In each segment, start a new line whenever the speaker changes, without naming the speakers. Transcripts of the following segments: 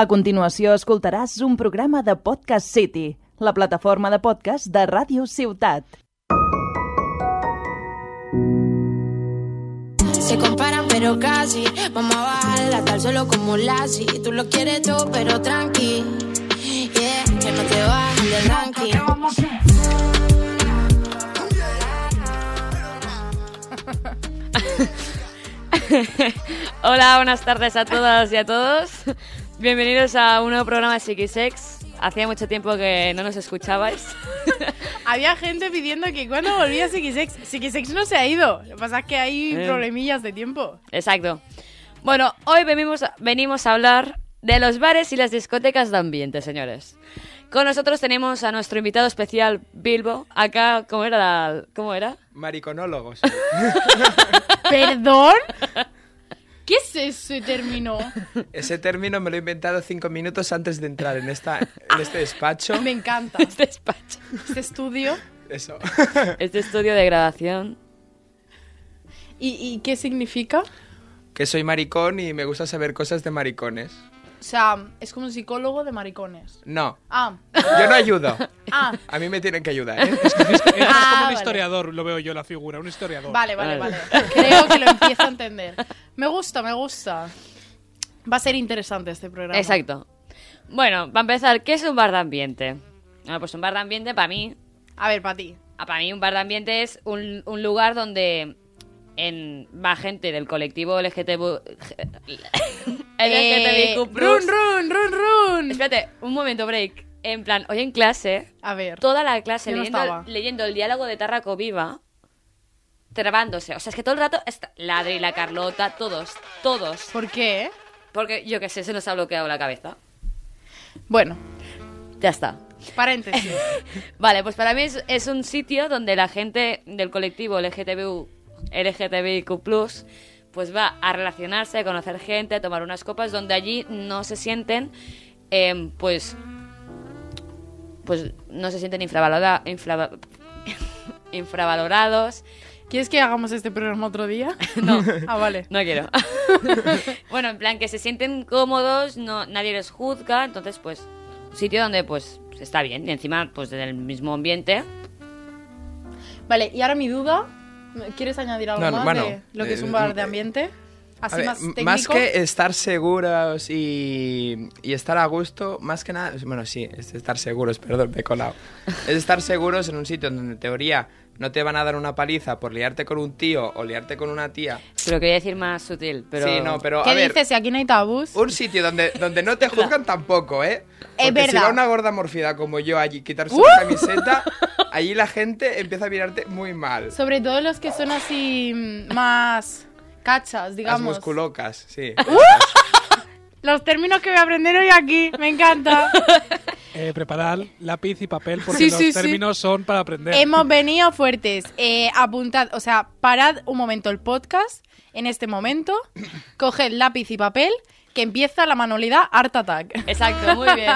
A continuació escoltaràs un programa de Podcast City, la plataforma de podcast de Ràdio Ciutat.
Se comparan pero casi, vamos a bajarla tal solo como Lassie. Tú lo quieres todo pero tranqui, yeah, que no te bajes del ranking.
Hola, buenas tardes a todas y a todos. Bienvenidos a un nuevo programa de Psiquisex. Hacía mucho tiempo que no nos escuchabais.
Había gente pidiendo que cuando volvía Psiquisex, Psiquisex no se ha ido. Lo que pasa es que hay
Eh.
problemillas de tiempo.
Exacto. Bueno, hoy venimos a, venimos a hablar de los bares y las discotecas de ambiente, señores. Con nosotros tenemos a nuestro invitado especial, Bilbo. Acá, ¿cómo era? la- ¿Cómo era?
Mariconólogos.
¿Perdón? ¿Qué es ese término?
Ese término me lo he inventado cinco minutos antes de entrar en, esta, en este despacho.
Me encanta.
Este despacho.
Este estudio.
Eso.
Este estudio de grabación.
¿Y, y qué significa?
Que soy maricón y me gusta saber cosas de maricones.
O sea, es como un psicólogo de maricones.
No,
Ah,
yo no ayudo.
ah,
A mí me tienen que ayudar, ¿eh?
Es más
Ah,
como
vale.
un historiador, lo veo yo la figura, un historiador.
vale, vale,
Vale.
vale. Creo que lo empiezo a entender. Me gusta, me gusta. Va a ser interesante este programa.
Exacto. Bueno, para empezar, ¿qué es un bar de ambiente? Ah, pues un bar de ambiente para mí
A ver, para ti.
Ah, Para mí un bar de ambiente es un, un lugar donde en, va gente del colectivo LGTB...
Eh,
LGTBIQ+.
run, run, run, run.
Espérate, un momento, break. En plan, hoy en clase,
A ver.
toda la clase
Yo no
leyendo,
estaba.
leyendo el diálogo de Tarraco Viva, trabándose. O sea, es que todo el rato... Está, la Adri, la Carlota, todos, todos.
¿Por qué?
Porque, yo qué sé, se nos ha bloqueado la cabeza.
Bueno,
Ya está.
paréntesis.
Vale, pues para mí es, es un sitio donde la gente del colectivo LGTBU, LGTBIQ+, pues va a relacionarse, a conocer gente, a tomar unas copas, donde allí no se sienten, em, pues, pues no se sienten infravalora- infrava- infravalorados.
¿Quieres que hagamos este programa otro día?
No,
Ah, vale.
no quiero. bueno, en plan que se sienten cómodos, no, nadie les juzga, entonces pues un sitio donde pues está bien y encima pues en el mismo ambiente.
Vale, y ahora mi duda, ¿quieres añadir algo
No, no,
más
bueno,
de lo que es un
eh,
bar de
eh,
ambiente? Así
A ver,
más
m-
técnico.
que eh, estar seguros y, y estar a gusto, más que nada, bueno, sí, es estar seguros, perdón, me he colado. Es estar seguros en un sitio donde en teoría no te van a dar una paliza por liarte con un tío o liarte con una tía.
Pero quería decir más sutil, pero...
Sí, no, pero
¿Qué
a ver,
dices? Si aquí no hay tabús.
Un sitio donde, donde no te juzgan tampoco, ¿eh?
Es
Porque si
verdad. ¡Uh!
va una gorda morfida como yo allí, quitarse una camiseta, allí la gente empieza a mirarte muy mal.
Sobre todo los que son así mm, más cachas,
Las
digamos. ¡Uh!
musculocas, sí.
Los términos que voy a aprender hoy aquí, me encanta.
Eh, preparad lápiz y papel porque
Sí,
los
sí, Em, sí.
términos son para aprender.
Hemos venido fuertes. Eh, apuntad, o sea, parad un momento el podcast en este momento, coged lápiz y papel, que empieza la manualidad Art Attack.
Exacto, muy bien.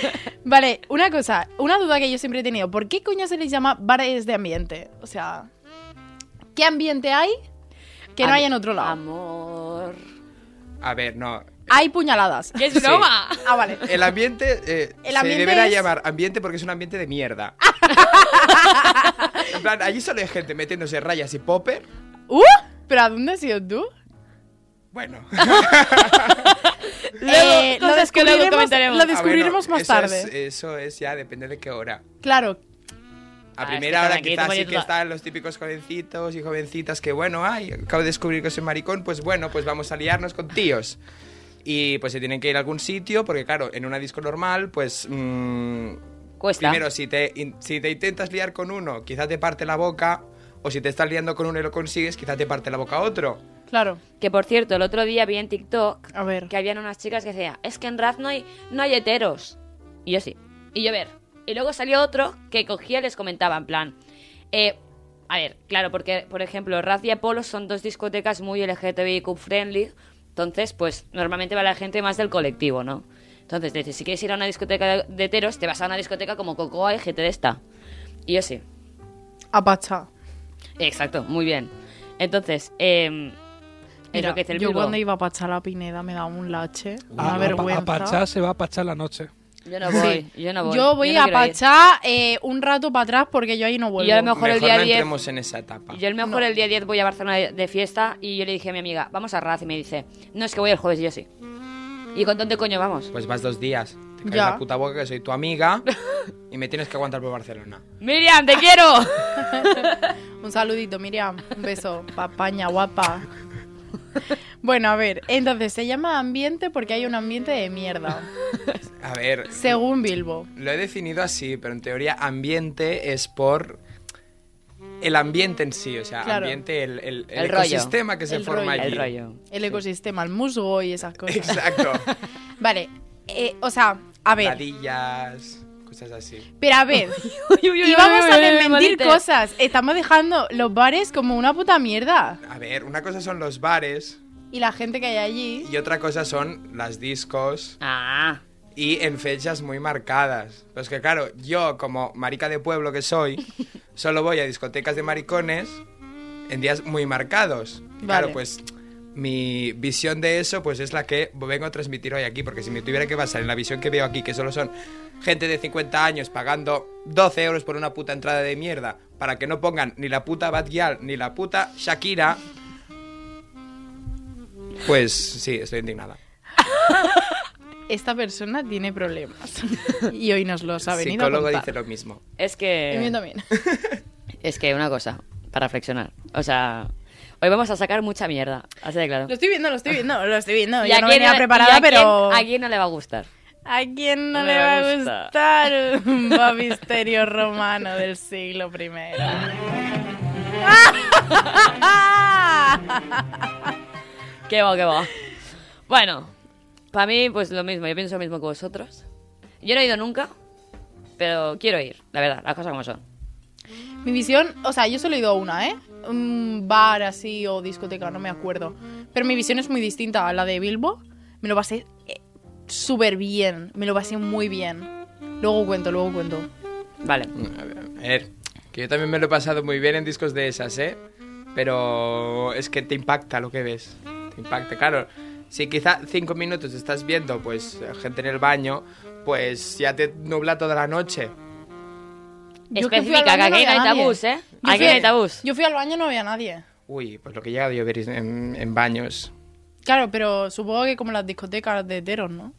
Vale, una cosa, una duda que yo siempre he tenido. ¿Por qué coño se les llama bares de ambiente? O sea, ¿qué ambiente hay que no
Am-
hay en otro lado?
Amor.
A ver, no.
Hay puñaladas.
¡Que es
Sí.
broma!
Ah, vale.
El ambiente, eh,
El
se
ambiente
deberá
es-
llamar ambiente porque es un ambiente de mierda. en plan, allí solo hay gente metiéndose rayas y popper.
¡Uh! ¿Pero a dónde has ido tú?
Bueno,
Eh, lo
cosas que luego
descubriremos,
comentaremos.
lo
Ah,
descubriremos
Ah,
más
bueno, eso
tarde.
es-
eh,
eso es ya, depende de qué hora.
Claro,
Ah,
A
es
primera
que
hora
tranquilo,
quizás sí
Marieta.
que están los típicos jovencitos y jovencitas que, bueno, ay, acabo de descubrir que soy maricón, pues bueno, pues vamos a liarnos con tíos. Y pues se tienen que ir a algún sitio, porque claro, en una disco normal, pues... mm,
Cuesta.
Primero, si te, in- si te intentas liar con uno, quizás te parte la boca, o si te estás liando con uno y lo consigues, quizás te parte la boca a otro.
claro.
Que por cierto, el otro día vi en TikTok
A ver.
que habían unas chicas que decían, es que en Raz no hay, no hay heteros. Y yo sí. Y yo ver. Y luego salió otro que cogía y les comentaba, en plan, eh, a ver, claro, porque, por ejemplo, Raz y Apolo son dos discotecas muy LGTBIQ friendly, entonces, pues, normalmente va la gente más del colectivo, ¿no? Entonces, dice, si quieres ir a una discoteca de- de heteros, te vas a una discoteca como Cocoa y GT de esta. Y yo sí.
Apacha.
Exacto, muy bien. Entonces, em, es eh,
Mira,
lo que dice el
yo
Bilbo.
cuando iba a Pachá la Pineda me daba un lache,
A-
una
a-
vergüenza.
A Pachá se va a Pachá la noche.
Yo no
Sí.
voy, yo no voy.
Yo voy
no
a
quiero ir.
Pachá eh, un rato para atrás porque yo ahí no vuelvo.
Y yo a lo mejor el día
no
10.
entremos en esa etapa.
Yo el mejor el día 10 voy a Barcelona de, de fiesta y yo le dije a mi amiga, vamos a Raz y me dice, no es que voy el jueves y yo sí. ¿Y con dónde coño vamos?
Pues vas dos días. Te caes
Ya.
la puta boca que soy tu amiga y me tienes que aguantar por Barcelona.
Miriam, te quiero.
Un saludito, Miriam. Un beso. Papaña, guapa. Bueno, a ver, entonces se llama ambiente porque hay un ambiente de mierda,
A ver,
según Bilbo.
lo he definido así, pero en teoría ambiente es por el ambiente en sí, o sea,
Claro.
ambiente, el, el, el
El rollo.
ecosistema que se
El
forma
rollo.
allí.
El rollo.
El ecosistema, el musgo y esas cosas.
Exacto.
Vale, eh, o sea, a ver,
Ladillas, cosas así.
pero a ver,
Uy, uy, uy,
y vamos
uy,
a
uy, uy,
desmentir
malete.
cosas. Estamos dejando los bares como una puta mierda.
A ver, una cosa son los bares
Y la gente que hay allí.
y otra cosa son las discos
Ah,
y en fechas muy marcadas. Pues que claro, yo como marica de pueblo que soy, solo voy a discotecas de maricones en días muy marcados. Y Claro,
Vale.
pues mi visión de eso pues es la que vengo a transmitir hoy aquí, porque si me tuviera que basar en la visión que veo aquí, que solo son gente de 50 años pagando 12 euros por una puta entrada de mierda, para que no pongan ni la puta Bad Gyal ni la puta Shakira, pues sí, estoy indignada.
Esta persona tiene problemas. Y hoy nos los ha venido
psicólogo
a contar.
dice lo mismo.
es
Y yo
que
también.
es que una cosa para reflexionar. O sea, hoy vamos a sacar mucha mierda, así de claro.
Lo estoy viendo, lo estoy viendo, lo estoy viendo.
Y
Yo
a
no
quién
venía
le- y
preparada,
a quién-
pero...
a quién no le va a gustar.
¿A quién no
No
le
me
va a
gusta.
gustar un babisterio romano del siglo primero?
Qué va, qué va. Bueno, para mí pues lo mismo, yo pienso lo mismo que vosotros. Yo no he ido nunca, pero quiero ir, la verdad, las cosas como son.
Mi visión, o sea, yo solo he ido a una, ¿eh? Un bar así o discoteca, no me acuerdo. Pero mi visión es muy distinta a la de Bilbo. Me lo pasé eh, súper bien, me lo pasé muy bien. Luego cuento, luego cuento.
Vale.
A ver, a ver, que yo también me lo he pasado muy bien en discos de esas, ¿eh? Pero es que te impacta lo que ves. Te impacta, claro. Si quizá cinco minutos estás viendo, pues, gente en el baño, pues ya te nubla toda la noche.
Yo que fui al
Específica, que
baño no
aquí no hay
había nadie.
tabús, ¿eh?
Yo
Aquí
fui-
no hay tabús.
Yo fui al baño y no había nadie.
Uy, pues lo que he llegado yo a ver es en, en baños.
Claro, pero supongo que como las discotecas de heteros, ¿no?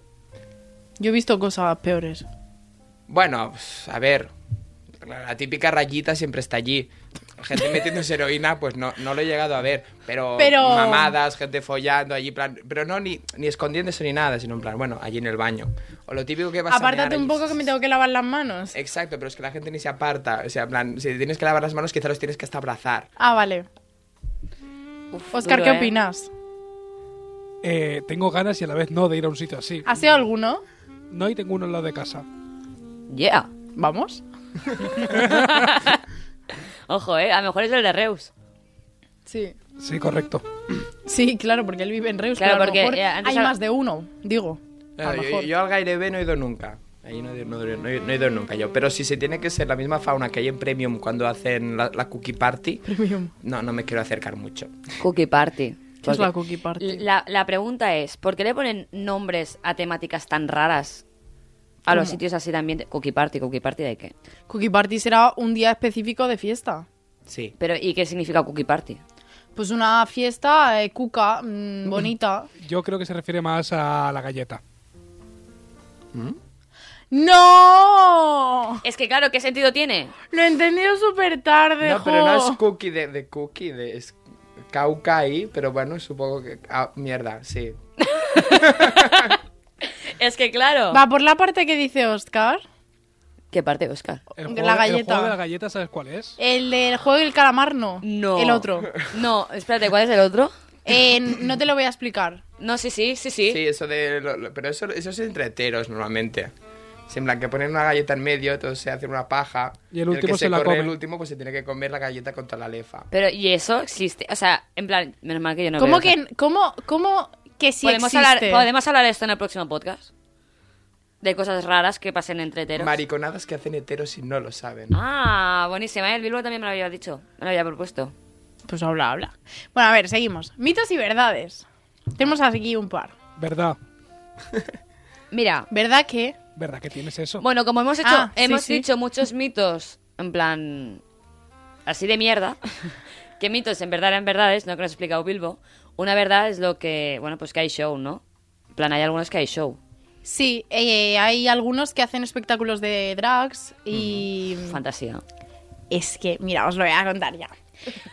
Yo he visto cosas peores.
Bueno, pues, a ver, la típica rayita siempre está allí. Gente metiéndose heroína, pues no, no lo he llegado a ver. Pero,
Pero-
mamadas, gente follando allí, plan. Pero no ni, ni escondiéndose ni nada, sino en plan, bueno, allí en el baño. O lo típico que vas a
Apártate
mear
un
allí.
poco que me tengo que lavar las manos.
Eh.
Exacto, pero es que la gente ni se aparta. O sea, en plan, si tienes que lavar las manos, quizá los tienes que hasta abrazar.
Ah, vale.
Uf,
Oscar,
duro,
¿qué
¿eh?
opinas?
Eh, tengo ganas y a la vez no de ir a un sitio así.
¿Has ido a alguno?
No, y tengo uno al lado de casa.
Yeah.
Vamos.
Ojo, eh. A lo mejor es el de Reus.
Sí.
Sí, correcto.
Sí, claro, porque él vive en Reus.
Claro,
pero a lo
porque,
mejor
eh, antes
hay
a- Eh,
más de uno, digo. A lo
yo,
mejor.
yo al Gairebé no he ido nunca. Ahí no he, ido- no he ido- no he ido- no he ido nunca yo. Pero si se tiene que ser la misma fauna que hay en Premium cuando hacen la, la cookie party,
Premium.
no, no me quiero acercar mucho.
Cookie Party.
¿Qué es la cookie party?
La, la pregunta es, ¿por qué le ponen nombres a temáticas tan raras a los
¿Cómo?
sitios así de ambiente? Cookie Party, Cookie Party de qué?
Cookie party será un día específico de fiesta.
Sí.
Pero, ¿y qué significa Cookie Party?
Pues una fiesta eh, cuca, mm, bonita.
Yo creo que se refiere más a la galleta.
¡No!
Es que claro, ¿qué sentido tiene?
Lo he entendido súper tarde,
No, pero no
jo.
es cookie de, de cookie, de, es caucaí, pero bueno, supongo que... ah, mierda, sí.
Es que claro.
Va por la parte que dice Oscar.
¿Qué parte, Oscar?
El
La
juego,
galleta. Eh.
El juego de la galleta, ¿sabes cuál es?
El del juego del calamar, no.
No.
El otro.
No, espérate, ¿cuál es el otro?
Eh, no te lo voy a explicar.
No, sí, sí, sí,
Sí,
sí.
eso de... lo- lo- pero eso, eso es entre heteros normalmente. Es en plan que ponen una galleta en medio, todos se hacen una paja.
Y el último
que
se la
corre,
come.
El último pues se tiene que comer la galleta con toda la lefa.
Pero, ¿y eso existe? O sea, en plan, menos mal que yo no
¿Cómo
veo, o sea,
que, cómo, cómo que si
podemos
existe?
hablar, podemos hablar de esto en el próximo podcast. De cosas raras que pasen entre heteros.
Mariconadas que hacen heteros y no lo saben.
Ah, buenísima. ¿eh? El Bilbo también me lo había dicho. Me lo había propuesto.
Pues habla, habla. Bueno, a ver, seguimos. Mitos y verdades. Tenemos
Ah.
aquí un par.
¿Verdad?
Mira,
¿Verdad que?
¿Verdad que tienes eso?
bueno, como hemos hecho,
Ah, sí,
hemos
sí.
dicho muchos mitos, en plan, así de mierda, que mitos en verdad eran verdades, no que nos ha explicado Bilbo. Una verdad es lo que, bueno, pues que hay show, ¿no? En plan, hay algunos que hay show.
Sí, eh, hay algunos que hacen espectáculos de drags y...
Fantasía.
Es que, mira, os lo voy a contar ya.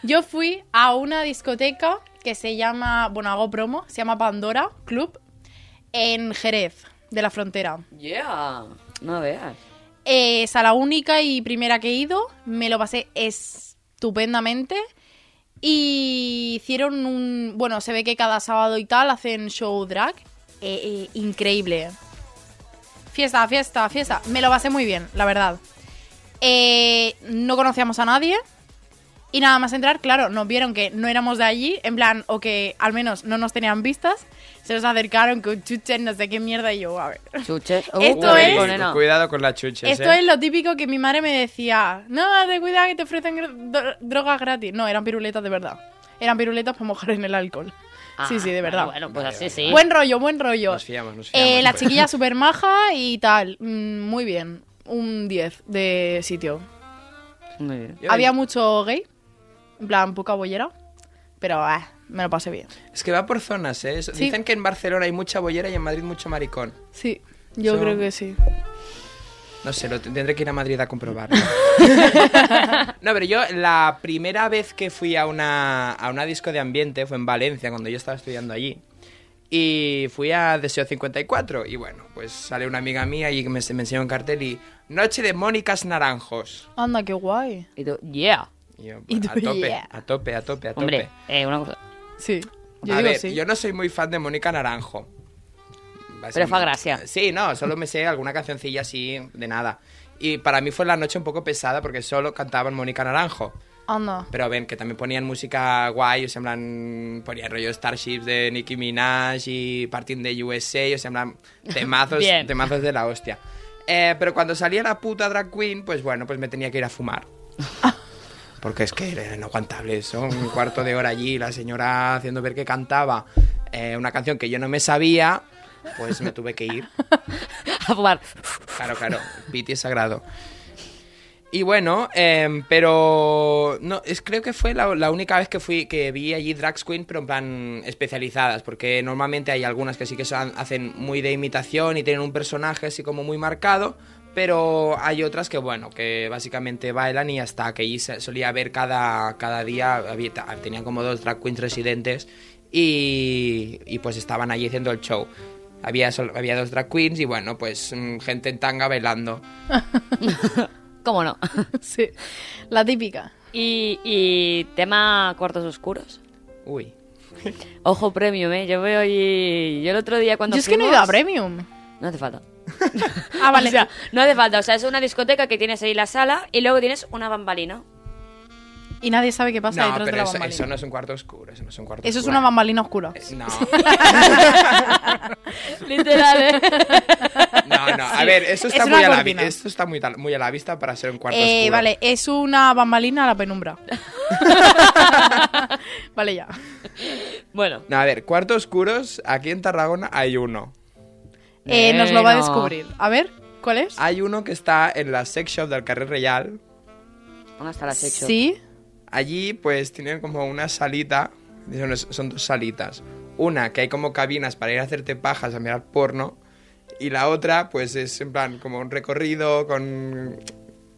Yo fui a una discoteca que se llama, bueno, hago promo, se llama Pandora Club en Jerez, de la frontera.
Yeah. No veas.
Eh, Es a la única y primera que he ido, me lo pasé estupendamente. Y hicieron un. Bueno, se ve que cada sábado y tal hacen show drag. Eh, eh, increíble. Fiesta, fiesta, fiesta. Me lo pasé muy bien, la verdad. Eh, no conocíamos a nadie. Y nada más entrar, claro, nos vieron que no éramos de allí, en plan, o que al menos no nos tenían vistas. Se nos acercaron con chuches, no sé qué mierda, y yo, a ver.
Chuches.
Esto
Uy,
es-
cu-
Uh, nena.
Cuidado con las chuches,
Esto
¿eh?
es lo típico que mi madre me decía. No, te cuidado que te ofrecen gr- dro- drogas gratis. No, eran piruletas de verdad. Eran piruletas para mojar en el alcohol.
Ah,
sí, sí, de
bueno,
verdad.
Bueno, pues así sí.
Buen rollo, buen rollo.
Nos fiamos, nos
Eh,
fiamos,
la
pues.
chiquilla súper maja y tal. Mm, muy bien. Un 10 de sitio.
Muy bien.
Yo-
Había mucho gay. En plan, poca bollera. Pero ah, me lo pasé bien.
Es que va por zonas, ¿eh? Eso-
Sí.
Dicen que en Barcelona hay mucha bollera y en Madrid mucho maricón.
Sí, yo
Son-
creo que sí.
No sé, lo t- tendré que ir a Madrid a comprobarlo. no, pero yo la primera vez que fui a una, a una disco de ambiente fue en Valencia, cuando yo estaba estudiando allí. Y fui a Deseo 54 y bueno, pues sale una amiga mía y me, me enseñó un cartel y Noche de Mónicas Naranjos.
Anda, qué guay.
Y tú, yeah.
Y yo, pues,
Y tú,
a tope,
"Yeah".
a tope, a tope, a tope.
Hombre, eh, una cosa.
Sí. Yo
a
digo
ver,
sí.
yo no soy muy fan de Mónica Naranjo. Va a
Pero
ser-
fue a gracia.
Sí, no, solo me sé alguna cancioncilla así de nada. Y para mí fue la noche un poco pesada porque solo cantaban Mónica Naranjo.
Anda.
Pero ven, que también ponían música guay, o sea, en plan, ponían rollo Starships de Nicki Minaj y Parting de USA, o sea, en plan, temazos,
Bien.
temazos de la hostia. Eh, pero cuando salía la puta drag queen, pues bueno, pues me tenía que ir a fumar. Porque es que era inaguantable eso, un cuarto de hora allí, la señora haciendo ver que cantaba eh, una canción que yo no me sabía, pues me tuve que ir.
A fumar.
Claro, claro, Piti es sagrado. Y bueno, em, pero no, es, creo que fue la, la única vez que fui que vi allí drag queen, pero en plan especializadas, porque normalmente hay algunas que sí que son- hacen muy de imitación y tienen un personaje así como muy marcado, pero hay otras que bueno, que básicamente bailan y hasta que allí se- solía haber cada, cada día, había- ta- tenían como dos drag queens residentes y, y pues estaban allí haciendo el show. Había, sol- había dos drag queens y bueno, pues mm, gente en tanga bailando.
¿Cómo no?
Sí. La típica.
Y, y tema cuartos oscuros.
Uy.
Ojo premium, eh. Yo veo allí. Yo el otro día cuando.
Yo es que no he
fuimos-
ido a Premium.
No hace falta.
Ah, vale.
O sea, no hace falta. O sea, es una discoteca que tienes ahí la sala y luego tienes una bambalina.
y nadie sabe qué pasa
No,
detrás de
pero
la
eso,
bambalina.
eso no es un cuarto oscuro, eso no es un cuarto
Eso es
oscuro.
una bambalina oscura.
Eh, No,
Literal, eh.
no, no. A ver, eso
Es
está,
una
muy a, la, vi-
cortina.
esto está muy, tal- muy a la vista para ser un cuarto
Eh,
oscuro.
vale, es una bambalina a la penumbra. vale, ya.
Bueno.
No, a ver, cuartos oscuros, aquí en Tarragona hay uno.
Eh, nos lo va a
Bueno.
descubrir. A ver, ¿cuál es?
Hay uno que está en la sex shop del Carrer Real.
¿Dónde está la hecho?
Sí.
Allí, pues, tienen como una salita. Son, son dos salitas. Una que hay como cabinas para ir a hacerte pajas, a mirar porno. Y la otra, pues, es en plan como un recorrido con,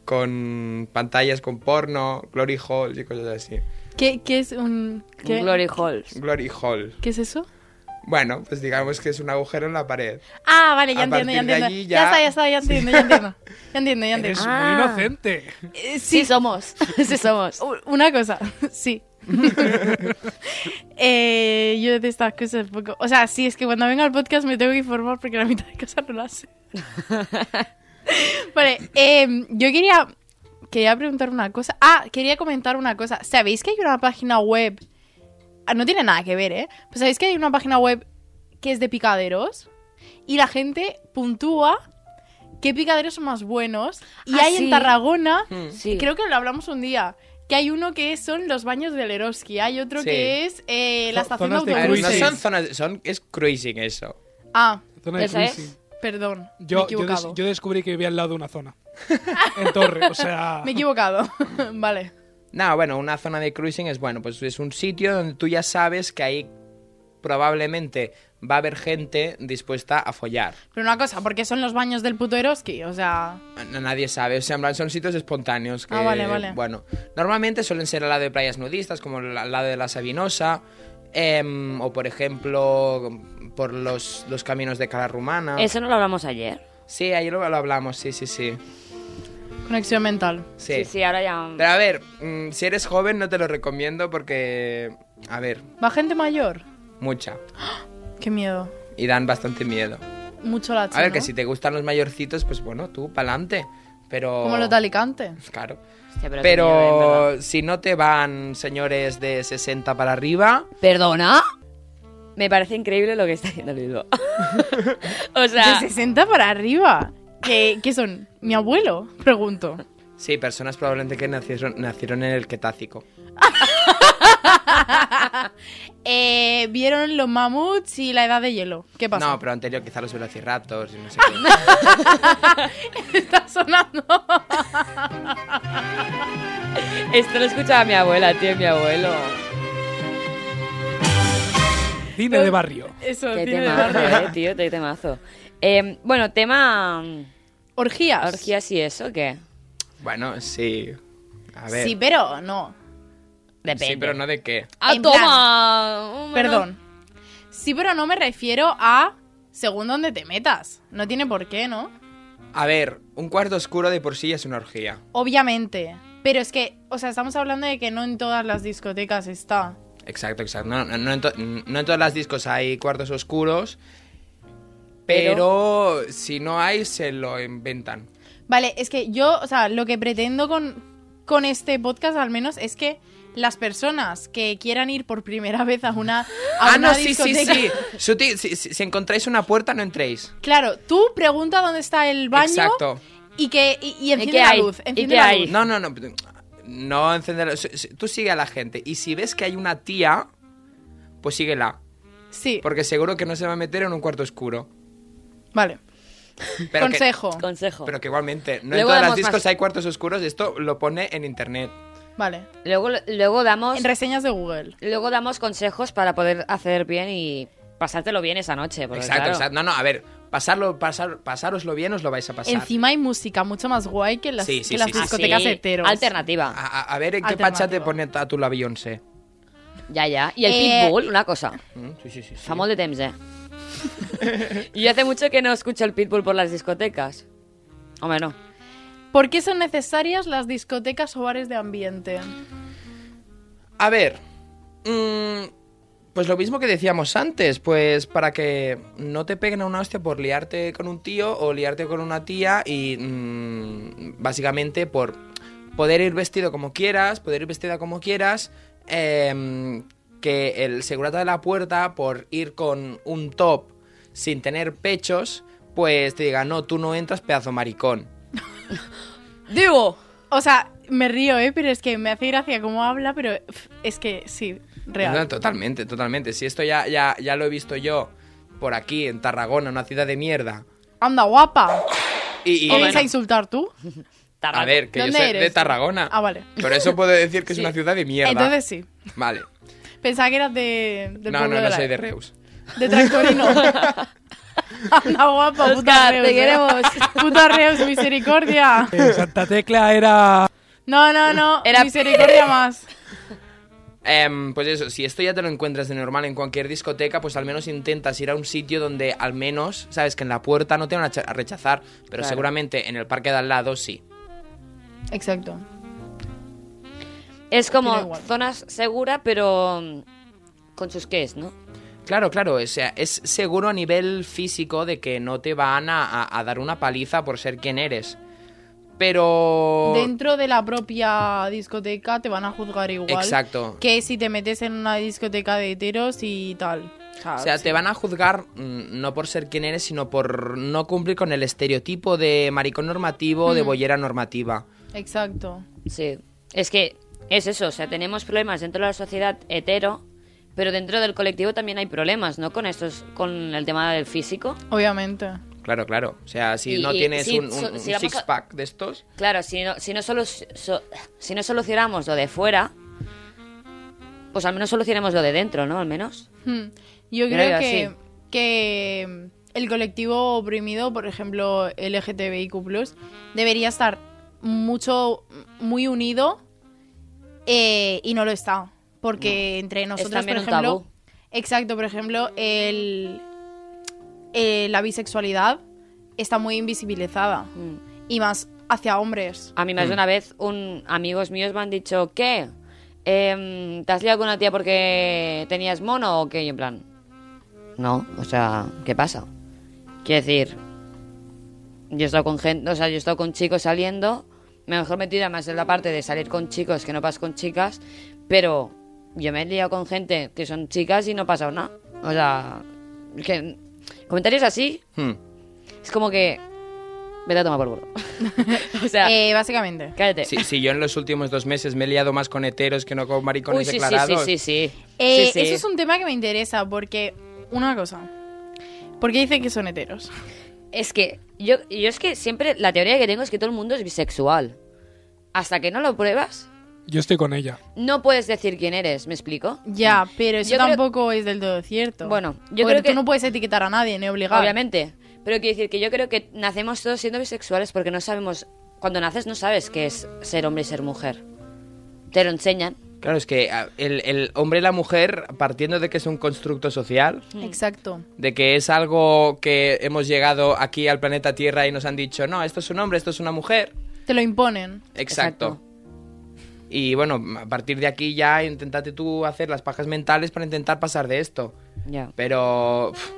con pantallas con porno, glory hall y cosas así.
¿Qué, qué es un.
Un
Qué,
Glory Halls.
Glory hall.
qué es eso?
Bueno, pues digamos que es un agujero en la pared.
Ah, vale, ya
A
entiendo, ya
partir de
entiendo.
allí
ya...
ya-
está, ya está, ya entiendo, ya entiendo. Ya entiendo, ya entiendo.
Eres
Ah.
muy inocente.
Eh,
Sí, somos. Sí, somos.
U- Una cosa, sí. Eh, yo de estas cosas poco. O sea, sí, es que cuando venga al podcast me tengo que informar porque la mitad de cosas no las sé. vale, em, yo quería, quería preguntar una cosa. Ah, quería comentar una cosa. ¿Sabéis que hay una página web? Ah, No tiene nada que ver, ¿eh? Pues sabéis que hay una página web que es de picaderos y la gente puntúa qué picaderos son más buenos. Y
Ah,
hay en
sí.
Tarragona
Sí.
Hmm.
Creo que lo hablamos un día. Que que hay uno que son los baños del Eroski, hay otro
Sí.
que es eh, la
Zo-
estación de
zonas de
A ver, no
autobuses.
cruising.
son zonas, son, es cruising eso.
Ah,
Zona de
¿Esa es?
cruising.
perdón, me he
Yo, yo, des-
equivocado.
yo descubrí que vivía al lado de una zona. En torre, o sea.
Me he equivocado, vale.
No, bueno, una zona de cruising es bueno, pues es un sitio donde tú ya sabes que ahí probablemente va a haber gente dispuesta a follar.
Pero una cosa, ¿por qué son los baños del puto Eroski? O sea,
No, nadie sabe, o sea, en plan, son sitios espontáneos. Que,
Ah, vale, vale.
Bueno, normalmente suelen ser al lado de playas nudistas, como el- al lado de la Sabinosa, em, o por ejemplo, por los, los caminos de Cala Rumana.
Ah. Eso no lo hablamos ayer.
Sí, ahí lo, lo hablamos, sí, sí, sí.
conexión mental.
Sí,
Sí, sí, ahora ya.
Pero a ver, mm, si eres joven no te lo recomiendo porque, a ver,
¿Va gente mayor?
mucha.
Qué miedo.
Y dan bastante miedo.
Mucho la
A ver, que si te gustan los mayorcitos, pues bueno, tú, pa'lante. Pero...
Como los de Alicante.
Claro.
Hostia,
Pero,
qué miedo, en verdad.
si no te van señores de 60 para arriba,
¿Perdona? Me parece increíble lo que está haciendo Bilbo. o sea,
De 60 para arriba. ¿Qué, qué son? ¿Mi abuelo? Pregunto.
sí, personas probablemente que nacieron, nacieron en el Cretácico.
Eh, ¿Vieron los mamuts y la edad de hielo? ¿Qué pasó?
No, pero anterior quizá los velociraptors y no sé qué.
Está sonando.
esto lo escuchaba mi abuela, tío, mi abuelo.
Cine de barrio.
Eso,
Qué
tiene
temazo,
barrio.
eh, tío, qué temazo. Eh, bueno, tema
Orgías.
orgías y eso, ¿qué?
bueno, sí. A ver.
Sí, pero no.
Depende.
Sí, pero no de qué.
¡Ah,
En
toma! Bueno,
Perdón. Sí, pero no me refiero a según dónde te metas. No tiene por qué, ¿no?
A ver, un cuarto oscuro de por sí ya es una orgía.
Obviamente. Pero es que, o sea, estamos hablando de que no en todas las discotecas está.
Exacto, exacto. No, no- no en, to- no en todas las discos hay cuartos oscuros, pero, si no hay, se lo inventan.
Vale, es que yo, o sea, lo que pretendo con, con este podcast al menos es que las personas que quieran ir por primera vez a una, a
Ah,
una
no, sí, sí,
discoteca-
sí. Sutil, si, si- si encontráis una puerta, no entréis.
Claro, tú pregunta dónde está el baño
Exacto.
y que y, y enciende
qué
la
hay?
luz.
¿Y
Enciende
qué
la
hay?
luz.
No, no, no. No encender. la- si- si- Tú sigue a la gente. Y si ves que hay una tía, pues síguela.
Sí,
Porque seguro que no se va a meter en un cuarto oscuro.
vale.
Pero
Consejo.
Que,
Consejo.
pero que igualmente, no en
Luego
todas las
damos
discos
más.
hay cuartos oscuros. Esto lo pone en internet.
Vale.
Luego, luego damos.
En reseñas de Google.
Luego damos consejos para poder hacer bien y pasártelo bien esa noche. porque,
exacto,
claro,
exacto. No, no, a ver. Pasarlo, pasar, pasároslo bien, os lo vais a pasar.
Encima hay música mucho más guay que las,
Sí, sí,
que las
sí, sí.
discotecas
así,
heteros.
Alternativa.
A, a- a ver en qué pacha te
Alternativo.
pone a tu la Beyoncé.
Ya, ya. Y el
Eh,
pitbull, una cosa.
Mm, Sí, sí, sí. sí.
Famoso de Temps, eh. y hace mucho que no escucho el pitbull por las discotecas. Hombre, no.
¿Por qué son necesarias las discotecas o bares de ambiente?
A ver. mm, pues lo mismo que decíamos antes, pues para que no te peguen a una hostia por liarte con un tío o liarte con una tía y mm, básicamente por poder ir vestido como quieras, poder ir vestida como quieras, em, que el segurata de la puerta por ir con un top sin tener pechos, pues te diga, no, tú no entras pedazo maricón.
¡Digo!
O sea, me río, ¿eh? Pero es que me hace gracia cómo habla, pero pf, es que sí,
No,
real.
totalmente, totalmente. Si esto ya, ya, ya lo he visto yo por aquí, en Tarragona, una ciudad de mierda.
Anda, guapa.
Y, y-
¿Qué vienes a insultar tú?
a ver, que yo
¿Dónde
soy
eres?
de Tarragona.
Ah, vale.
Por eso puedo decir que es
Sí.
una ciudad de mierda.
Entonces sí.
Vale.
Pensaba que eras de, del
No,
pueblo
no,
de
no
la-
soy de Reus.
De Tractorino. Anda, guapa, puta
Oscar,
Reus.
te
¿eh?
queremos.
Puta Reus, misericordia.
Eh, Santa Tecla era.
No, no, no.
Era-
Misericordia más.
Em, pues eso, si esto ya te lo encuentras de normal en cualquier discoteca, pues al menos intentas ir a un sitio donde al menos, sabes, que en la puerta no te van a cha- a rechazar, pero
Claro.
seguramente en el parque de al lado sí.
Exacto.
Es
Tira
como
igual.
zonas segura, pero mm, con sus es, ¿no?
Claro, claro, o sea, es seguro a nivel físico de que no te van a, a- a dar una paliza por ser quien eres. Pero...
Dentro de la propia discoteca te van a juzgar igual.
Exacto.
Que si te metes en una discoteca de heteros y tal.
O sea, te van a juzgar mm, no por ser quien eres, sino por no cumplir con el
Mm.
estereotipo de maricón normativo o de bollera normativa.
Exacto.
Sí. Es que Es eso, o sea, tenemos problemas dentro de la sociedad hetero, pero dentro del colectivo también hay problemas, ¿no? Con estos, con el tema del físico.
Obviamente.
Claro, claro. O sea, si
Y-
no
y-
tienes
sí,
un,
so- si vamos a-
six-pack de estos,
Claro, si no, si no, solu- so- si no solucionamos lo de fuera, pues al menos solucionemos lo de dentro, ¿no? Al menos.
Hmm. Yo
Yo
creo
lo digo
que,
así.
que mm, el colectivo oprimido, por ejemplo, LGTBIQ, debería estar mucho, mm, muy unido eh, y no lo está. Porque entre nosotros, por
también un
ejemplo.
tabú.
Exacto, por ejemplo, el, eh, la bisexualidad está muy invisibilizada.
Mm.
Y más hacia hombres.
A mí más de una vez un amigos míos me han dicho ¿qué? Em, ¿Te has liado con una tía porque tenías mono o qué? Y en plan, no, o sea, ¿qué pasa? Quiero decir, yo he estado con gente, o sea, yo he estado con chicos saliendo, me mejor me tira más en la parte de salir con chicos que no pasas con chicas, pero yo me he liado con gente que son chicas y no ha pasado nada. O sea, que comentarios así
hmm,
es como que vete a tomar por culo. o sea,
Eh, básicamente.
cállate.
si, si yo en los últimos dos meses me he liado más con heteros que no con maricones
Uy, sí, sí, sí,
declarados.
sí, sí.
Eh,
Sí, sí.
Eso es un tema que me interesa porque, una cosa, porque dicen que son heteros.
Es que yo, yo es que siempre la teoría que tengo es que todo el mundo es bisexual. Hasta que no lo pruebas,
Yo estoy con ella.
no puedes decir quién eres, ¿me explico?
Ya, pero eso
Mm. Yo creo-
tampoco es del todo cierto.
Bueno, yo
Porque
creo que-
tú no puedes etiquetar a nadie, ni obligar.
Obviamente. Pero quiero decir que yo creo que nacemos todos siendo bisexuales porque no sabemos... Cuando naces no sabes qué es ser hombre y ser mujer. Te lo enseñan.
Claro, es que ah, el, el hombre y la mujer, partiendo de que es un constructo social,
Mm. Exacto.
de que es algo que hemos llegado aquí al planeta Tierra y nos han dicho, no, esto es un hombre, esto es una mujer.
Te lo imponen.
Exacto. Y bueno, a partir de aquí ya intentate tú hacer las pajas mentales para intentar pasar de esto.
Ya,
Pero, pff,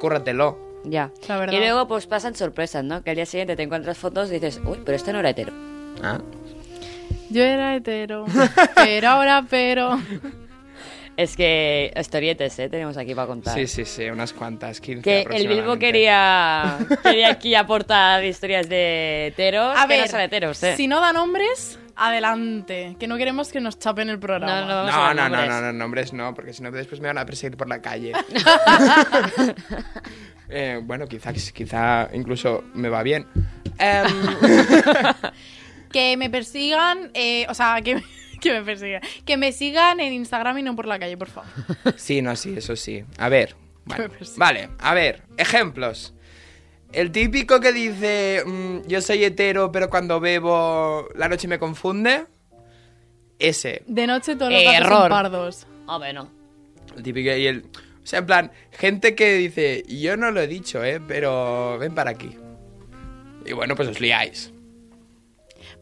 cúrratelo.
ya.
La verdad.
Y luego pues pasan sorpresas, ¿no? Que al día siguiente te encuentras fotos y dices, uy, pero este no era hetero.
Ah.
Yo era hetero, pero ahora, pero...
Es que historietes, ¿eh? Tenemos aquí para contar.
Sí, sí, sí, unas cuantas, 15
Que el Bilbo
aproximadamente.
quería, quería aquí aportar historias de heteros.
A
que
ver,
no son heteros, ¿eh?
si no dan hombres, adelante, que no queremos que nos chapen el programa.
No, no. Vamos a
No,
ver
no,
nombres.
no, no, no, nombres no, porque si no después me van a perseguir por la calle. Eh, bueno, quizá, quizá incluso me va bien. Em,
Que me persigan, eh, o sea, que, que me persigan. Que me sigan en Instagram y no por la calle, por favor.
sí, no, sí, eso sí. A ver. Vale,
Pero sí.
vale, a ver, ejemplos. El típico que dice, mm, yo soy hetero, pero cuando bebo la noche me confunde. Ese,
De noche todos los
Eh,
gatos son
error.
pardos.
Hombre, no.
el típico y el... O sea, en plan, gente que dice, yo no lo he dicho, ¿eh? Pero ven para aquí. Y bueno, pues os liáis.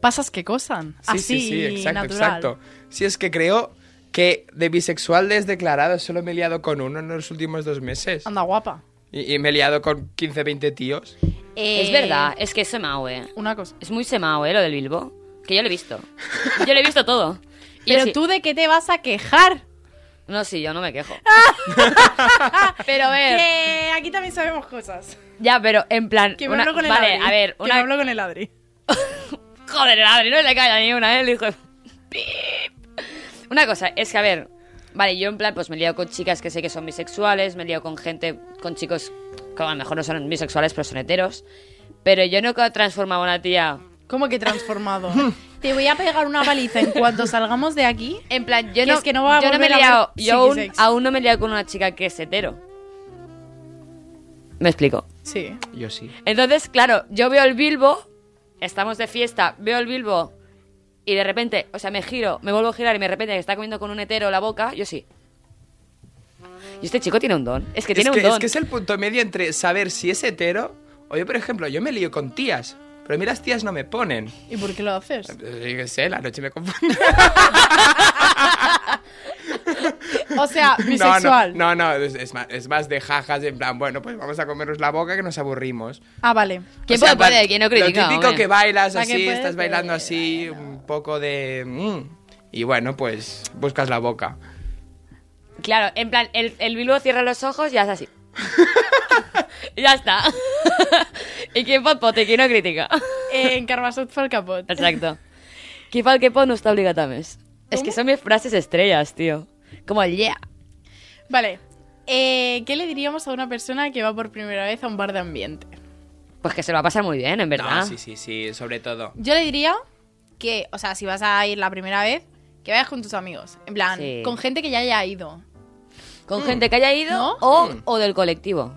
Pasas que cosan.
Sí,
Así,
sí, sí, exacto,
natural.
exacto. Si es que creo que de bisexual declarado solo me he liado con uno en los últimos dos meses.
Anda guapa.
Y, y me he liado con 15, 20 tíos.
Eh.
Es verdad, es que es semao, ¿eh?
Una cosa.
Es muy semao, ¿eh? Lo del Bilbo. Que yo lo he visto. Yo lo he visto todo. Y
Pero
sí-
tú de qué te vas a quejar.
No, sí, yo no me quejo. pero a ver.
Que aquí también sabemos cosas.
Ya, pero en plan.
Que me
una-
hablo con el
vale,
Adri.
a ver,
Que
una.
me hablo con el Adri.
Joder, el Adri, no le calla ni una, ¿eh? El hijo de- ¡Pip! Una cosa, es que, a ver, vale, yo en plan, pues me he liado con chicas que sé que son bisexuales, me he liado con gente, con chicos que a lo mejor no son bisexuales, pero son heteros. Pero yo no he transformado a una tía.
¿Cómo que transformado? te voy a pegar una paliza en cuanto salgamos de aquí.
En plan, yo
Que
no,
es que no va a
yo no me he
volver a ver
liado, yo aún,
psiquisex.
aún no me he liado con una chica que es hetero. Me explico.
Sí.
Yo sí.
Entonces, claro, yo veo el Bilbo, estamos de fiesta, veo el Bilbo y de repente, o sea, me giro, me vuelvo a girar y de repente está comiendo con un hetero la boca, yo sí. Y este chico tiene un don, es que
es,
tiene
que,
un don.
es que es el punto medio entre saber si es hetero o yo, por ejemplo, yo me lío con tías. Pero a mí las tías no me ponen.
¿Y por qué lo haces?
Eh, Yo qué sé, la noche me confunde.
O sea,
No, no,
bisexual.
no, no, es, es más, es más de jajas, en plan, bueno, pues vamos a comernos la boca que nos aburrimos.
Ah, vale.
¿Quién
O sea,
puede,
va-
puede? ¿Quién no critica?
Lo típico
hombre?
que bailas
La que
así,
puede,
estás
puede,
bailando así, un poco de... mm, y bueno, pues buscas la boca.
Claro, en plan, el, el Bilbo cierra los ojos y hace así. Y ya está. ¿Y quién pot pot y quién no critica?
Eh, en Carvasot fue el capot.
Exacto. Qui fa el que pot no està obligat a més. Es que son mis frases estrellas, tío. Como el yeah.
Vale. eh, ¿Qué le diríamos a una persona que va por primera vez a un bar de ambiente?
Pues que se lo va a pasar muy bien, en verdad.
No, sí, sí, sí, sobre todo.
Yo le diría que, o sea, si vas a ir la primera vez, que vayas con tus amigos. En plan,
Sí.
con gente que ya haya ido.
Con gente que haya ido
¿No?
o, o del colectivo.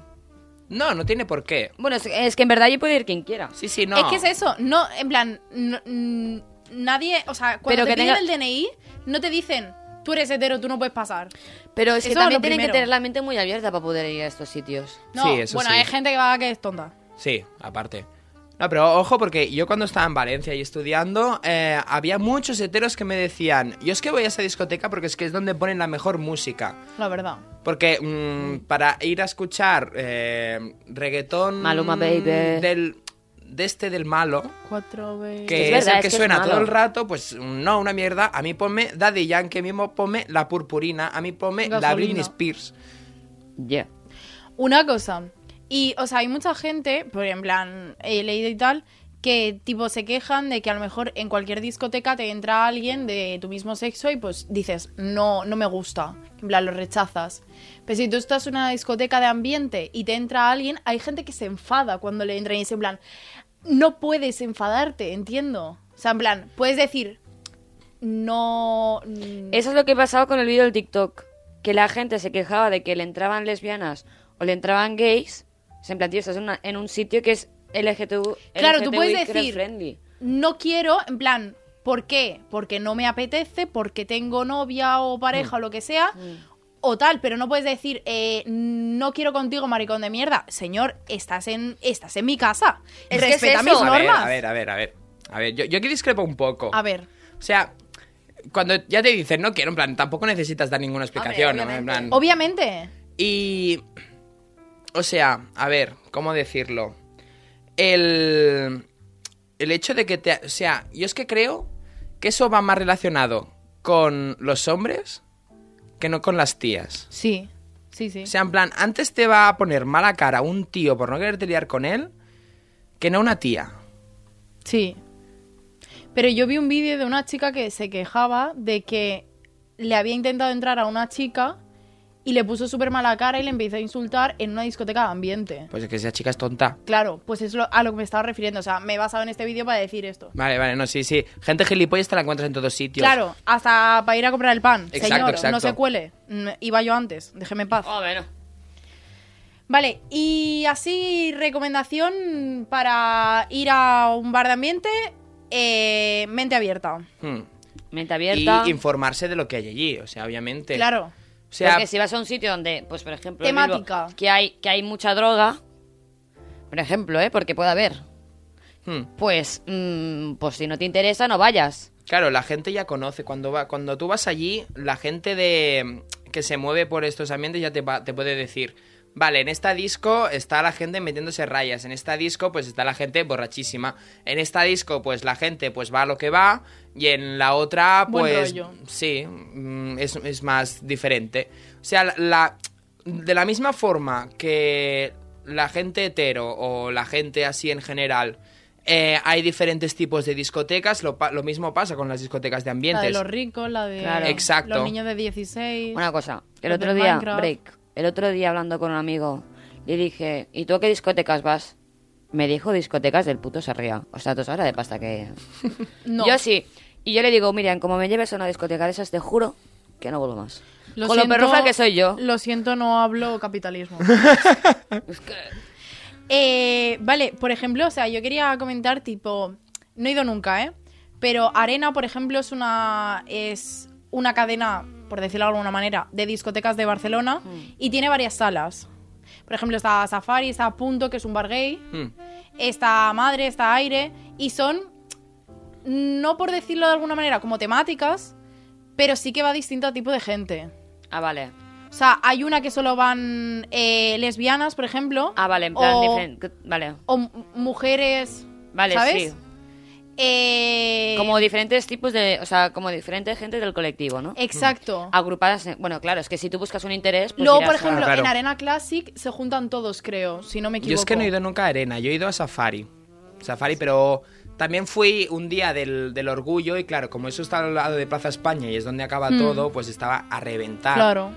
No, no tiene por qué.
Bueno, es, es que en verdad yo puedo ir quien quiera.
Sí, sí, no.
Es que es eso, no, en plan, no- mm, nadie, o sea,
Pero
cuando te
que
piden
tenga-
el DNI, no te dicen, tú eres hetero, tú no puedes pasar.
Pero es que
Eso
también
lo
tienen
primero.
que tener la mente muy abierta para poder ir a estos sitios.
No,
Sí, eso
bueno,
sí.
hay gente que va que es tonta.
Sí, aparte. No, pero ojo, porque yo cuando estaba en Valencia y estudiando, eh, había muchos heteros que me decían, yo es que voy a esa discoteca porque es que es donde ponen la mejor música.
La verdad.
Porque mm, para ir a escuchar eh, reggaetón...
Maluma, baby.
Del, de este del malo,
Cuatro veces.
que es,
Es verdad,
el que,
es que es
suena
malo.
todo el rato, pues no, una mierda. A mí ponme Daddy Yankee, a mí ponme La Purpurina, a mí ponme La
Gasolina.
Britney Spears.
Yeah.
Una cosa. Y, o sea, hay mucha gente, por en plan, he leído y tal, que tipo se quejan de que a lo mejor en cualquier discoteca te entra alguien de tu mismo sexo y pues dices, no, no me gusta. En plan, lo rechazas. Pero si tú estás en una discoteca de ambiente y te entra alguien, hay gente que se enfada cuando le entra y es en plan, no puedes enfadarte, entiendo. O sea, en plan, puedes decir, no... mm,
Eso es lo que pasaba con el vídeo del TikTok. Que la gente se quejaba de que le entraban lesbianas o le entraban gays. Se en plan, tío, estás en, una- en un sitio que es LGTB.
Claro, tú puedes
LGTBIQ
decir,
friendly.
no quiero, en plan, ¿por qué? Porque no me apetece, porque tengo novia o pareja o lo que sea, o tal, pero no puedes decir, eh, no quiero contigo, maricón de mierda. Señor, estás en, estás en mi casa.
Es que es
Respeta mis
eso.
A ver,
normas.
a ver, a ver, a ver. A ver, yo, yo aquí discrepo un poco.
A ver,
O sea, cuando ya te dicen no quiero, en plan, tampoco necesitas dar ninguna explicación, ¿no? En plan-
obviamente.
Y. O sea, a ver, ¿cómo decirlo? El. El hecho de que te. O sea, yo es que creo que eso va más relacionado con los hombres que no con las tías.
Sí, sí, sí.
O sea, en plan, antes te va a poner mala cara un tío por no quererte liar con él que no una tía.
Sí. Pero yo vi un vídeo de una chica que se quejaba de que le había intentado entrar a una chica y le puso súper mala cara y le empezó a insultar en una discoteca de ambiente.
Pues es que esa chica es tonta.
Claro, pues es lo- a lo que me estaba refiriendo. O sea, me he basado en este vídeo para decir esto.
Vale, vale, no, sí, sí. Gente gilipollas te la encuentras en todos sitios.
Claro, hasta para ir a comprar el pan.
Exacto,
Señor,
exacto.
no se cuele. Mm, Iba yo antes, déjeme en paz.
Ah, bueno.
Vale, y así recomendación para ir a un bar de ambiente, eh, mente abierta.
Hmm.
Mente
Y
abierta.
informarse de lo que hay allí, o sea, obviamente.
Claro.
O sea,
Porque si vas a un sitio donde, pues por ejemplo, en
Temática.
Bilbao, que hay que hay mucha droga, por ejemplo, ¿eh? porque puede haber.
hmm.
Pues, mm, pues si no te interesa, no vayas.
Claro, la gente ya conoce. Cuando, va, cuando tú vas allí, la gente de que se mueve por estos ambientes ya te, va- te puede decir, vale, en esta disco está la gente metiéndose rayas, en esta disco pues está la gente borrachísima, en esta disco pues la gente pues va a lo que va y en la otra
Buen
pues
rollo.
sí, mm, es, es más diferente. O sea, la- la, de la misma forma que la gente hetero o la gente así en general... eh, hay diferentes tipos de discotecas, lo, pa- lo mismo pasa con las discotecas de ambientes.
La de los ricos, la de
Claro.
Exacto.
los niños de 16.
Una cosa, el
Los
otro
del
día,
Minecraft.
break, el otro día hablando con un amigo, le dije, ¿y tú a qué discotecas vas? Me dijo discotecas del puto Sarriá. O sea, tú sabes la de pasta que...
No.
Yo sí. Y yo le digo, Miriam, como me lleves a una discoteca de esas, te juro que no vuelvo más.
Lo
con
siento-
lo perrufla que soy yo.
Lo siento, no hablo capitalismo. Eh, vale, por ejemplo, o sea, yo quería comentar, tipo, no he ido nunca, ¿eh? Pero Arena, por ejemplo, es una, es una cadena, por decirlo de alguna manera, de discotecas de Barcelona
Mm.
y tiene varias salas. Por ejemplo, está Safari, está Punto, que es un bar gay,
Hmm.
está Madre, está Aire, y son, no por decirlo de alguna manera, como temáticas, pero sí que va distinto tipo de gente.
Ah, vale.
O sea, hay una que solo van eh, lesbianas, por ejemplo.
Ah, vale, en plan,
o,
diferente. Vale,
o m- mujeres.
vale,
¿sabes?
sí.
Eh,
Como diferentes tipos de... O sea, como diferentes gente del colectivo,
Eh.
¿no?
Exacto.
Agrupadas en- Bueno, claro, es que si tú buscas un interés... Ah, Pues
Luego,
irás
por
a-
ejemplo,
Claro, claro.
en Arena Classic se juntan todos, creo, si no me equivoco.
Yo es que no he ido nunca a arena, yo he ido a safari. Safari, pero También fui un día del, del orgullo y claro, como eso está al lado de Plaza España y es donde acaba todo, pues estaba a reventar.
Hmm. Claro.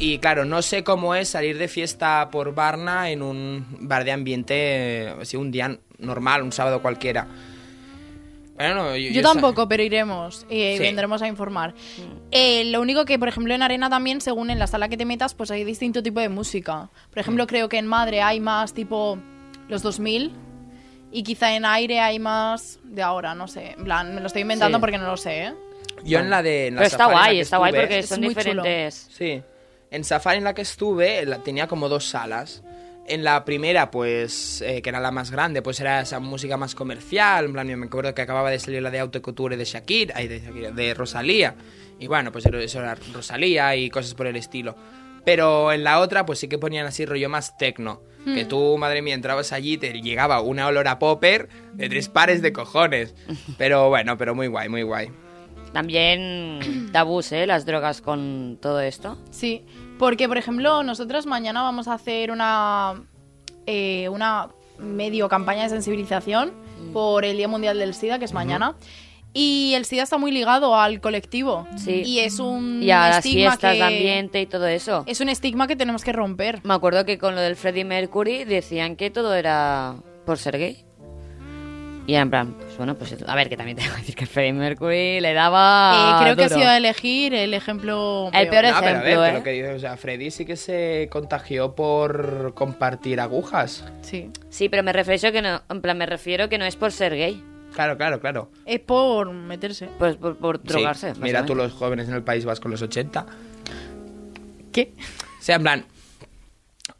Y claro, no sé cómo es salir de fiesta por Barna en un bar de ambiente, eh, así un día normal, un sábado cualquiera. Bueno, yo,
Yo
yo sa-
tampoco, pero iremos eh, y
Sí.
vendremos a informar.
Mm.
Eh, lo único que, por ejemplo, en Arena también, según en la sala que te metas, pues hay distinto tipo de música. Por ejemplo, creo que en Madre hay más tipo los 2000 y quizá en Aire hay más de ahora, no sé. En plan, me lo estoy inventando
Sí.
porque no lo sé, ¿eh?
Yo en la de... en la
Pero está
safari en la
guay,
que
está guay
estuve-
porque
Es
son
muy chulo.
diferentes.
Sí. En Safari en la que estuve eh, la- tenía como dos salas. En la primera, pues, eh, que era la más grande, pues era esa música más comercial. En plan, yo me acuerdo que acababa de salir la de Autocouture de Shakira, ay, de, Shakira, de Rosalía. Y bueno, pues era- eso era Rosalía y cosas por el estilo. Pero en la otra, pues sí que ponían así rollo más tecno. Que tú, madre mía, entrabas allí y te llegaba una olor a popper de tres pares de cojones. Pero bueno, pero muy guay, muy guay.
También tabús, ¿eh? Las drogas con todo esto.
Sí, porque por ejemplo, nosotras mañana vamos a hacer una, eh, una medio campaña de sensibilización
Mm.
por el Día Mundial del SIDA, que es mañana. Y el SIDA está muy ligado al colectivo.
Sí.
Y es un
Y a las
Mm, estigma
fiestas
que.
de ambiente y todo eso.
Es un estigma que tenemos que romper. Eh,
Me acuerdo que con lo del Freddie Mercury decían que todo era por ser gay. Y era en plan, pues bueno, pues a ver, que también tengo que decir que Freddie Mercury le daba.
Eh, creo que ha
duro.
sido elegir el ejemplo.
Ah, El peor
No, pero a ver,
ejemplo,
pero
¿eh?
que dices, o sea, Freddy sí que se contagió por compartir agujas.
Sí.
Sí, pero me refiero que no, en plan, me refiero que no es por ser gay,
Claro, claro, claro.
Es por meterse.
pues por, por
Sí,
drogarse.
Mira tú
básicamente.
los jóvenes en el País Vasco en los 80.
¿Qué?
O sea, en plan,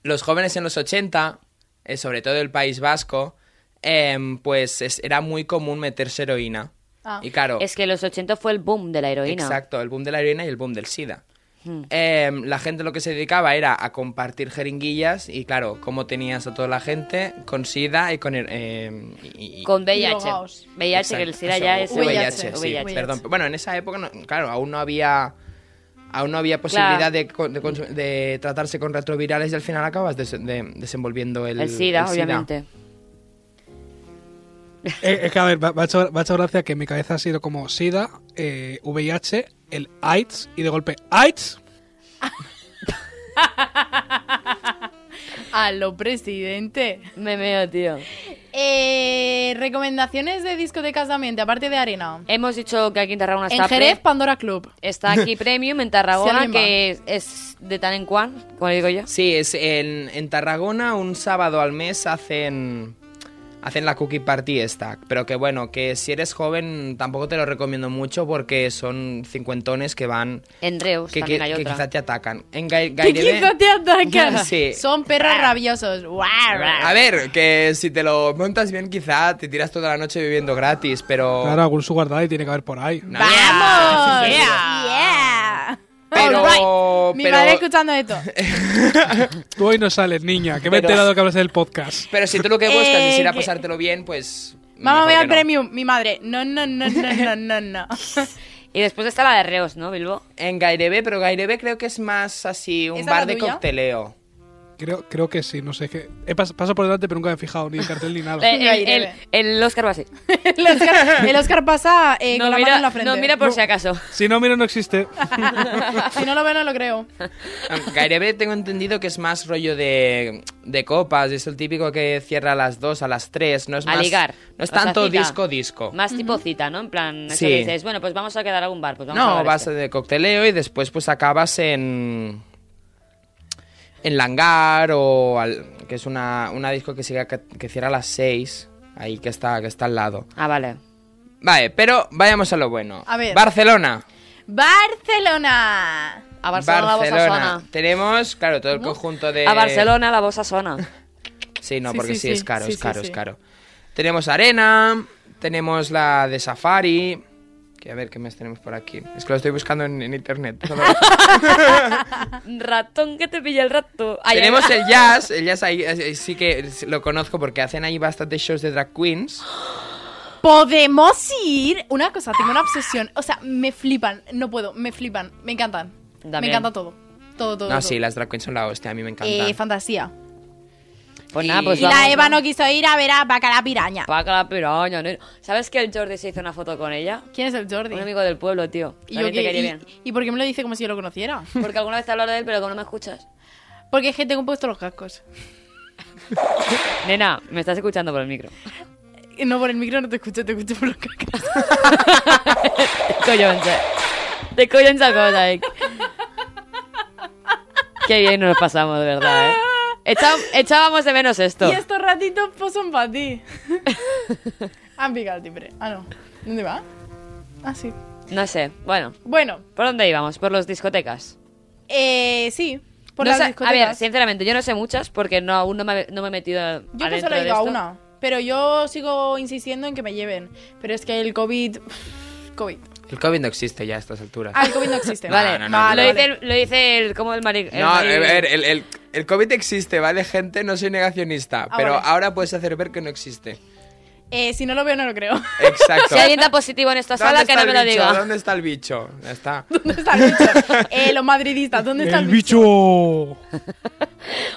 los jóvenes en los 80, eh, sobre todo el País Vasco, em, pues es- era muy común meterse heroína.
Ah.
Y claro,
Es que los 80 fue el boom de la heroína. Hmm.
Exacto, el boom de la heroína y el boom del SIDA. Em, la gente lo que se dedicaba era a compartir jeringuillas y claro, cómo tenías a toda la gente con SIDA y con... her- em, y- y-
Con VIH.
Drogaos.
VIH, que el SIDA
Exacto, eso,
ya es.
VIH, sí,
VIH.
perdón. Bueno, en esa época, no- claro, aún no había... Aún no había posibilidad de, co- de consum- de tratarse con retrovirales y al final acabas des- de- desenvolviendo el,
El SIDA, obviamente.
Eh, es que, a ver, me ha- me ha hecho me ha hecho gracia que en mi cabeza ha sido como SIDA, eh, VIH, el AIDS, y de golpe, AIDS.
A lo presidente.
Me meo, tío.
Eh, recomendaciones de discotecas de ambiente, aparte de arena.
Hemos dicho que aquí en Tarragona
En
está.
Jerez,
Pre-
Pandora Club.
Está aquí Premium en Tarragona,
alguien va.
que es, es de tan en cuan, como digo yo.
Sí, es en, en Tarragona un sábado al mes hacen hacen la cookie party esta, pero que bueno, que si eres joven tampoco te lo recomiendo mucho porque son cincuentones que van
En Reus
que,
Pues también
que-
hay
que
otra.
quizá te atacan. En Gai-
Que
Gairebé-
quizá te atacan.
Sí.
Son perros rabiosos. Guau, guau.
A ver, que si te lo montas bien quizá te tiras toda la noche viviendo gratis, pero
Claro, algún sugar daddy tiene que haber por ahí.
Nah,
¡Vamos!
Pero-
All right. Mi
pero-
madre escuchando esto.
Tú hoy no sales, niña, que me he
Pero-
enterado que hablas del podcast.
pero si tú lo que buscas
Eh,
es ir a
que-
pasártelo bien, pues
Mamá,
mejor
voy
que
al
no.
premium. Mi madre. No, no, no, no, no, no, no.
Y después está la de Reus, ¿no, Bilbo?
En Gairebé, pero Gairebé creo que es más así un
¿Esa
bar
la
de
tuya?
cteleo.
Creo, creo que sí, no sé qué. He pas- paso por delante, pero nunca me he fijado ni el cartel ni nada.
Eh, el,
Gairebe.
el- el Oscar va así.
El Oscar, el Oscar pasa eh, con
no,
la
mira,
mano en la frente.
no mira por si acaso.
Si no, mira, no existe.
Si no lo veo, no lo creo.
Ah, Gairebe tengo entendido que es más rollo de, de copas, es el típico que cierra a las 2, a las 3, no es
A
más...
ligar.
No es
O sea,
tanto
cita.
disco-disco.
Más tipo cita, ¿no? En plan, eso
Sí.
que dices, bueno, pues vamos a quedar a algún bar. Pues vamos a
No,
ver
vas
esto.
este.
de cocteleo y después pues acabas en... En Langar o... al- que es una, una disco que, sigue, que, que cierra a las 6, ahí que está, que está al lado.
Ah, vale.
Vale, pero vayamos a lo bueno.
A ver.
Barcelona.
Barcelona.
A Barcelona, la bossa
Barcelona. Eh.
sona.
Tenemos, claro, todo el conjunto de...
A Barcelona la bossa sona.
Sí, no,
Sí,
porque
sí,
sí,
sí.
es caro,
Sí,
es
sí,
caro,
sí.
es caro. Tenemos arena, tenemos la de safari. Que a ver qué más tenemos por aquí. Es que lo estoy buscando en, en internet. Solo-
Ratón que te pilla el rato. Ay, ay,
tenemos
ay.
el jazz, el jazz ahí eh, sí que lo conozco porque hacen ahí bastantes shows de drag queens.
Podemos ir. Una cosa, tengo una obsesión. O sea, me flipan. No puedo, me flipan. Me encantan. Me
También.
encanta todo. Eh, Todo, todo. todo.
No,
Eh,
sí, las drag queens son la hostia, a mí me encantan.
Eh, fantasía.
Pues nada, pues
y la
vamos,
Eva
vamos.
no quiso ir a ver a Bacala Piraña.
Paca la piraña, nene. ¿Sabes que el Jordi se hizo una foto con ella?
¿Quién es el Jordi?
Un amigo del pueblo, tío.
Y
También
yo
te
que-
quería
y-
bien.
¿Y por qué me lo dice como si yo lo conociera?
Porque alguna vez te hablo de él, pero como no me escuchas.
Porque es que tengo puesto los cascos.
Nena, me estás escuchando por el micro.
No, por el micro no te escucho, te escucho por los cascos.
Collonza. De collonza cosa, eh. Qué bien nos pasamos, de verdad, eh. Echa- echábamos de menos esto.
Y estos ratitos pues, son para ti. Han picado el timbre. Ah, no. ¿Dónde va? Ah, sí.
No sé, bueno.
Bueno,
¿Por dónde íbamos? Por las discotecas.
eh, sí. Por
No
las
sé-
discotecas.
A ver, sinceramente, yo no sé muchas porque no, aún no me, no me he metido
Yo que
adentro
solo he
de
ido a
esto.
una. Pero yo sigo insistiendo en que me lleven. Pero es que el COVID. COVID.
El COVID no existe ya a estas alturas.
Ah, el COVID no existe.
No,
vale,
no, no,
vale.
lo,
vale.
Dice el, lo dice el... ¿Cómo el mari- el
no, eh, a
mari-
ver, el, el- el COVID existe, ¿vale, gente? No soy negacionista,
Ah,
pero
vale.
ahora puedes hacer ver que no existe.
Eh, si no lo veo, no lo creo.
Exacto.
Si alguien da positivo en esta sala, que no
está
me lo
el bicho?
diga.
¿Dónde está el bicho? Ya está.
¿Dónde está el bicho? Eh, los madridistas, ¿dónde está
¡El bicho!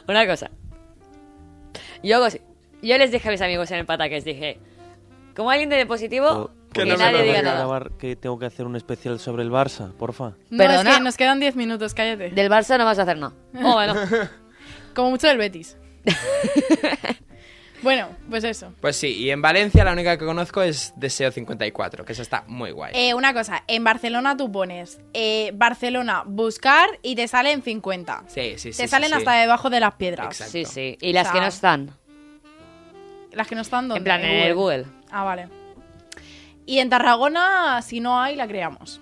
Una cosa. Yo, cos- yo les dije a mis amigos en el pataques, dije, como alguien de positivo, que,
que Pues, no me
nadie
lo
diga
diga.
nada.
grabar que tengo que hacer un especial sobre el Barça, porfa.
No,
Perdona.
es que nos quedan 10 minutos, cállate.
Del Barça no vas a hacer nada. Oh, bueno.
Como mucho del Betis. bueno, pues eso.
Pues sí, y en Valencia la única que conozco es Deseo 54, que esa está muy guay.
Eh, una cosa, en Barcelona tú pones eh, Barcelona buscar y te salen 50.
sí, sí, sí.
te
sí,
salen
sí.
hasta debajo de las piedras.
Exacto.
Sí, sí. Y las
O sea,
que no están.
Las que no están donde.
En plan, en el Google.
Ah, vale. Y en Tarragona, si no hay, la creamos.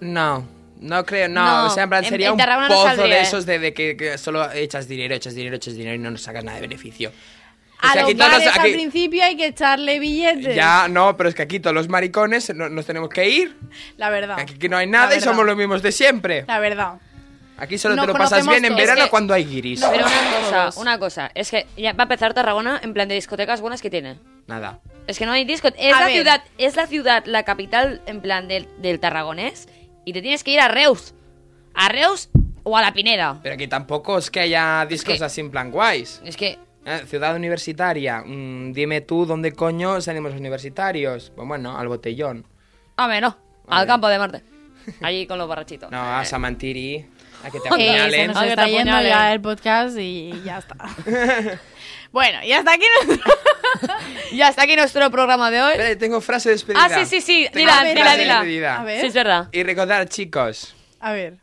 No, no creo, no.
No,
o sea, en plan,
en-
sería
en
un
Tarragona no
pozo
saldría,
de
¿eh?
esos de, de que, que solo echas dinero, echas dinero, echas dinero y no nos sacas nada de beneficio. O
A
sea,
los
aquí todos los-
bares al
aquí-
principio hay que echarle billetes.
Ya, no, pero es que aquí todos los maricones no- nos tenemos que ir.
La verdad.
Aquí que no hay
La
nada y
verdad.
somos los mismos de siempre.
La verdad.
Aquí solo
Nos
te lo pasas
conocemos
bien en
todos.
verano
Es que-
cuando hay guiris.
No,
Pero
no,
una
todos.
cosa, una cosa. Es que ya va a empezar Tarragona en plan de discotecas buenas que tiene.
Nada.
Es que no hay disco. Es
A
la
ver.
ciudad, es la ciudad, la capital en plan del, del tarragonés. Y te tienes que ir a Reus. A Reus o a la Pineda.
Pero aquí tampoco es que haya discos
que-
así en plan guays.
Es que
Eh, ciudad universitaria, mm, dime tú dónde coño salimos los universitarios. Pues bueno, al botellón.
Hombre, no.
Hombre.
Al campo de Marte. Allí con los borrachitos.
No, a Samantiri, a que
Eh, se
te apuñalen.
nos
Ah, que
está
te
yendo
apuñalen.
ya el podcast y ya está. bueno, y hasta aquí nuestro...
Y hasta aquí nuestro programa de hoy.
Espera, tengo frase de despedida.
Ah, sí, sí, sí.
Tengo
Dila,
frase
dila,
de
dila.
despedida.
A ver.
Sí, es verdad.
Y recordar, chicos,
A ver.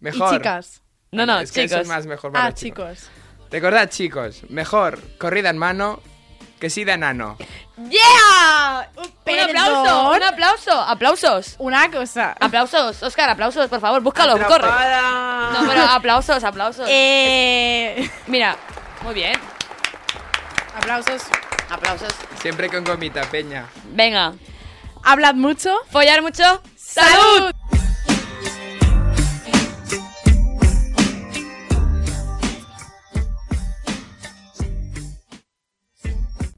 mejor.
Y chicas.
No, no,
Es que eso
chicos.
es más mejor para
Ah,
los
chicos.
Recordad, chicos, mejor corrida en mano que sida en ano.
¡Yeah! Un
Perdón.
aplauso, un aplauso. Aplausos.
Una cosa.
Aplausos, Oscar, aplausos, por favor, búscalo, corre.
Atrapada.
No, pero aplausos, aplausos.
Eh...
Mira, muy bien.
Aplausos.
Aplausos.
Siempre con gomita, peña.
Venga,
Hablad mucho.
follar mucho.
¡Salud!